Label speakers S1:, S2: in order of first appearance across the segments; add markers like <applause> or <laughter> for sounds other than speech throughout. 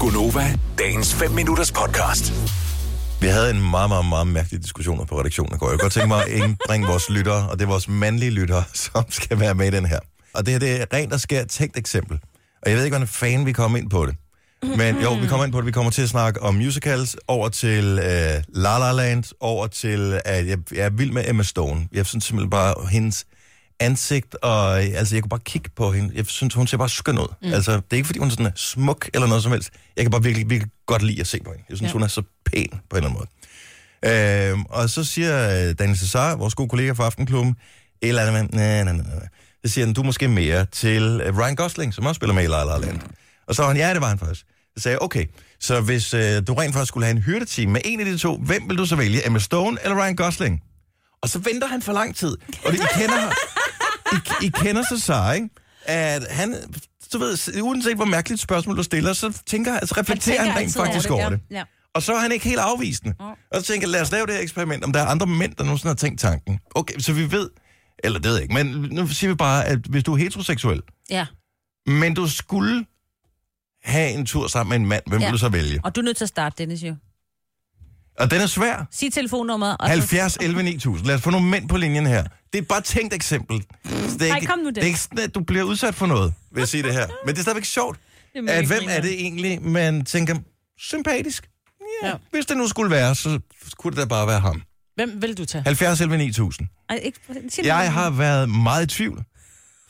S1: Gunova, dagens 5 minutters podcast.
S2: Vi havde en meget, meget, meget mærkelig diskussion på redaktionen i går. Jeg kunne godt tænke mig at indbringe vores lyttere, og det er vores mandlige lyttere, <laughs> som skal være med i den her. Og det her det er rent og skært tænkt eksempel. Og jeg ved ikke, hvordan fanden vi kommer ind på det. Men jo, vi kommer ind på det. Vi kommer til at snakke om musicals, over til øh, La La Land, over til, at jeg, jeg er vild med Emma Stone. Jeg synes simpelthen bare, hendes ansigt, og øh, altså, jeg kunne bare kigge på hende. Jeg synes, hun ser bare skøn ud. Mm. Altså, det er ikke, fordi hun sådan er smuk eller noget som helst. Jeg kan bare virkelig, virkelig godt lide at se på hende. Jeg synes, ja. hun er så pæn på en eller anden måde. Øhm, og så siger øh, Daniel Cesar, vores gode kollega fra Aftenklubben, et eller andet med, nej, nej, nej, nej. Så siger han, du er måske mere til øh, Ryan Gosling, som også spiller med i La La Land. Og så var han, ja, det var han faktisk. Så sagde jeg, okay, så hvis øh, du rent faktisk skulle have en hyrdeteam med en af de to, hvem vil du så vælge, Emma Stone eller Ryan Gosling? Og så venter han for lang tid, og det, I kender, I, I kender Cesar, ikke? At han, du ved, uanset hvor mærkeligt spørgsmål du stiller, så tænker, altså, reflekterer han,
S3: tænker
S2: han rent
S3: altid over
S2: faktisk
S3: det,
S2: over
S3: ja.
S2: det.
S3: Ja.
S2: Og så er han ikke helt afvisende. Mm. Og så tænker jeg, lad os lave det her eksperiment, om der er andre mænd, der nogensinde har tænkt tanken. Okay, så vi ved, eller det ved jeg ikke, men nu siger vi bare, at hvis du er heteroseksuel,
S3: Ja,
S2: men du skulle have en tur sammen med en mand, hvem ja.
S3: Ja.
S2: vil du så vælge?
S3: og du er nødt til at starte, Dennis, jo.
S2: Og den er svær.
S3: Sig telefonnummeret. Og
S2: 70, 11, 9000. Lad os få nogle mænd på linjen her. Det er bare et tænkt eksempel. Så Det er
S3: Ej, kom nu,
S2: det.
S3: Dennis.
S2: er ikke sådan, at du bliver udsat for noget, vil jeg sige det her. Men det er stadigvæk sjovt.
S3: Det er mega
S2: At, hvem er
S3: grineren.
S2: det egentlig, man tænker, sympatisk? Ja, ja.
S4: Ja.
S2: Hvis det nu skulle være, så kunne det da bare være ham.
S4: Hvem vil du tage?
S2: 70 11 9000.
S3: Ej, ikke, sig det
S2: Jeg
S3: nu.
S2: har været meget i tvivl,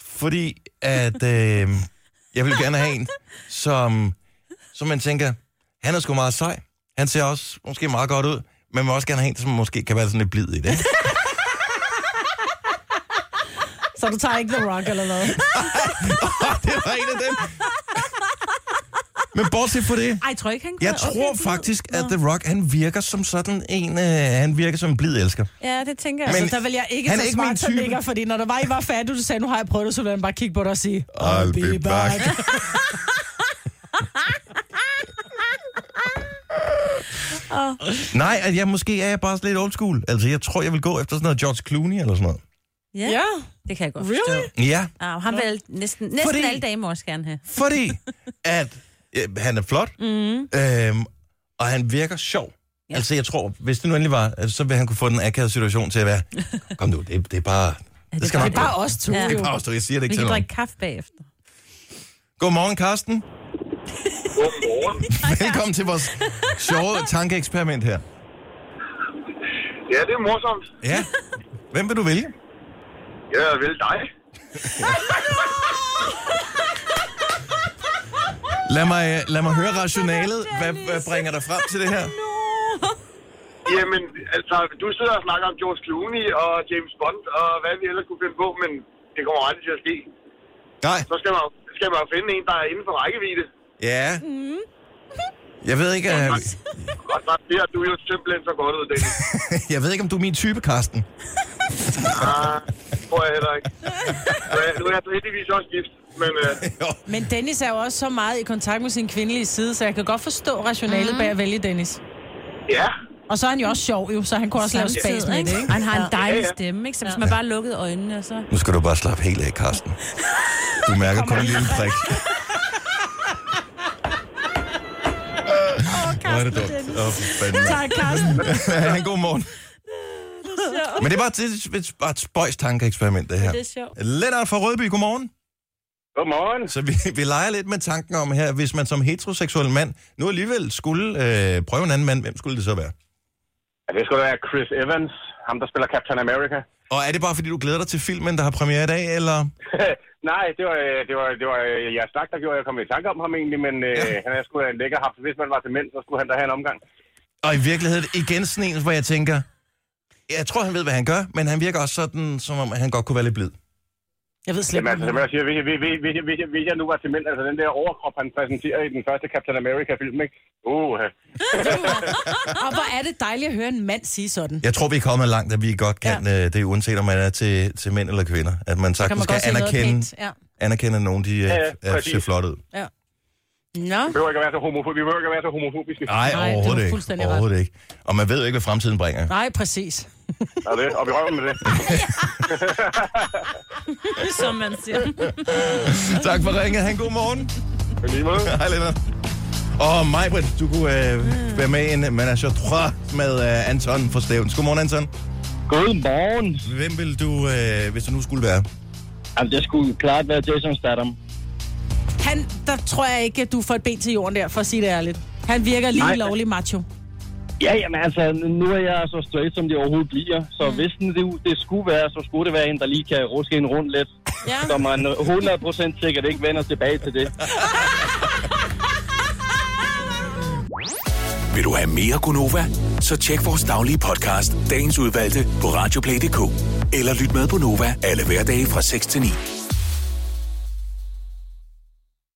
S2: fordi at øh, jeg vil gerne have en, som, som man tænker, han er sgu meget sej. Han ser også måske meget godt ud, men man vil også gerne have en, som måske kan være sådan lidt blid i det. <laughs>
S4: Så du tager ikke The Rock eller
S2: <laughs>
S4: noget?
S2: det var en af dem. Men bortset fra det,
S3: Ej, tror jeg ikke, han
S2: jeg
S3: kunne-
S2: tror
S3: okay,
S2: faktisk,
S3: Nå.
S2: at The Rock, han virker som sådan en, øh, han virker som en blid elsker.
S3: Ja, det tænker jeg.
S2: Men-
S3: Men...
S4: Men, så der vil jeg ikke
S2: han
S4: han
S2: er
S4: tage
S2: ikke min
S4: smart som
S2: type.
S4: ligger, fordi når der var, I var færdige, du sagde, nu har jeg prøvet det, så ville han bare kigge på dig og sige,
S2: I'll be back. <laughs> Nej, at jeg måske er jeg bare lidt old school. Altså, jeg tror, jeg vil gå efter sådan noget George Clooney eller sådan noget.
S3: Ja,
S4: Ja,
S3: det kan jeg godt
S4: really?
S3: forstå.
S2: Ja,
S3: Ah, han vil næsten, næsten
S2: Fordi-
S3: Fordi... alle dage må også gerne have.
S2: fordi at øh, han er flot, mm. øhm, og han virker sjov. Ja.
S3: Ja.
S2: Altså, jeg tror, hvis det nu endelig var, øh, så ville han kunne få den akavede situation til at være, kom nu, det, det er bare... Det skal
S4: Det
S2: nok
S4: er bare
S2: gå.
S4: os to.
S3: Ja.
S4: Ja.
S2: Det er bare os, der- jeg siger det ikke
S3: Vi
S2: til
S3: kan
S2: nogen.
S3: drikke kaffe bagefter.
S2: Godmorgen, Karsten.
S5: Godmorgen.
S2: Velkommen til vores sjove tankeeksperiment her.
S5: Ja, det er morsomt.
S2: Ja. Hvem vil du vælge?
S5: Jeg vil dig.
S2: Lad mig, øh, lad mig høre rationalet. Hvad, hvad bringer dig frem til det her?
S5: Jamen, altså, du sidder og snakker om George Clooney og James Bond og hvad vi ellers kunne finde på, men det kommer aldrig til at ske.
S2: Nej.
S5: Så skal man, jo- skal man jo finde en, der er inden for rækkevidde.
S2: Ja. Jeg ved ikke, øh,
S5: Og så ser du jo simpelthen så godt ud, Dennis.
S2: <laughs> jeg ved ikke om du er min type, Karsten.
S5: Ah, tror jeg heller ikke. Nu er- Nu er jeg så heldigvis også gift, men øh,
S4: Men Dennis er jo også så meget i kontakt med sin kvindelige side, så jeg kan godt forstå rationalet bag at vælge Dennis.
S5: ja,
S4: Og så er han jo også sjov, jo, så han kunne også lave
S3: Samtidig,
S4: spas med det, ikke?
S3: Og han har en dejlig
S5: Ja, ja.
S3: stemme, ikke? Så hvis man bare lukkede øjnene, og så...
S2: Nu skal du bare slappe helt af, Karsten. Du mærker kun en lille prik. Hvor er det dumt. Åh, for fanden.
S4: Tak, Carsten.
S2: <laughs> Ha' en god morgen. Men det var et, et, bare et spøjs tankeeksperiment, det her.
S3: Det er sjovt.
S2: Lennart fra Rødby, godmorgen.
S5: godmorgen.
S2: Så vi, vi leger lidt med tanken om her, hvis man som heteroseksuel mand nu alligevel skulle øh, prøve en anden mand, hvem skulle det så være?
S5: Ja, det skulle være Chris Evans, ham der spiller Captain America.
S2: Og er det bare, fordi du glæder dig til filmen, der har premiere i dag, eller?
S5: <laughs> Nej, det var, øh, det var, det var øh, jeres snak, der gjorde, at jeg kom i tanke om ham egentlig, men øh,
S2: Ja.
S5: ja. han er sgu da en lækker haft. Hvis man var til mænd, så skulle han da have en omgang.
S2: Og i virkeligheden igen sådan en, hvor jeg tænker, jeg tror, han ved, hvad han gør, men han virker også sådan, som om han godt kunne være lidt blid.
S4: Jeg ved slet
S5: Jamen
S4: ikke,
S5: altså, som
S4: hvad
S5: jeg siger, hvis jeg, hvis, jeg- hvis, jeg, hvis, jeg, hvis jeg nu var til mænd, altså den der overkrop, han præsenterer i den første Captain America-film, ikke? Uh,
S4: Og hvor er det dejligt at høre en mand sige sådan.
S2: Jeg tror, vi er kommet langt, at vi godt kan ja. øh, det, uanset om man er til, til mænd eller kvinder. At man
S4: Kan
S2: sagtens
S4: man
S2: skal
S4: godt sige noget
S2: anerkende,
S4: pænt. Ja.
S2: anerkende at nogen, de øh,
S5: Ja,
S2: ja,
S5: ja,
S2: ja,
S5: præcis.
S2: ser flot ud.
S4: Nå,
S5: vi behøver ikke at være så homofob- vi behøver ikke at være så homofobiske.
S2: Nej,
S4: det er du
S2: overhovedet ikke.
S4: fuldstændig ret.
S2: Overhovedet ikke. Og man ved jo ikke, hvad fremtiden bringer.
S4: nej, præcis.
S5: Der er det, og vi røver med det.
S3: Som man siger.
S2: tak for ringet. Han god morgen. <laughs>
S5: Men lige måde.
S2: Hej, Lennart. Og mig, Britt, du kunne øh, være med i en menage à trois med øh, Anton fra Stævns. Godmorgen, Anton.
S6: Godmorgen.
S2: Hvem vil du, øh, hvis du nu skulle være?
S6: Jamen, det skulle klart være Jason Statham.
S4: Han, der tror jeg ikke, at du får et ben til jorden der, for at sige det ærligt. Han virker lige
S6: Nej.
S4: lovlig macho.
S6: Ja, jamen altså, nu er jeg så straight, som det overhovedet bliver. Så mm. hvis nu det, det skulle være, så skulle det være en, der lige kan ruske en rundt lidt.
S4: Ja.
S6: Så man 100% sikkert ikke vender tilbage til det.
S1: Vil du have mere Gunova? Så tjek vores daglige podcast, dagens udvalgte, på radioplay.dk. Eller lyt med på Nova alle hverdage fra 6 til 9.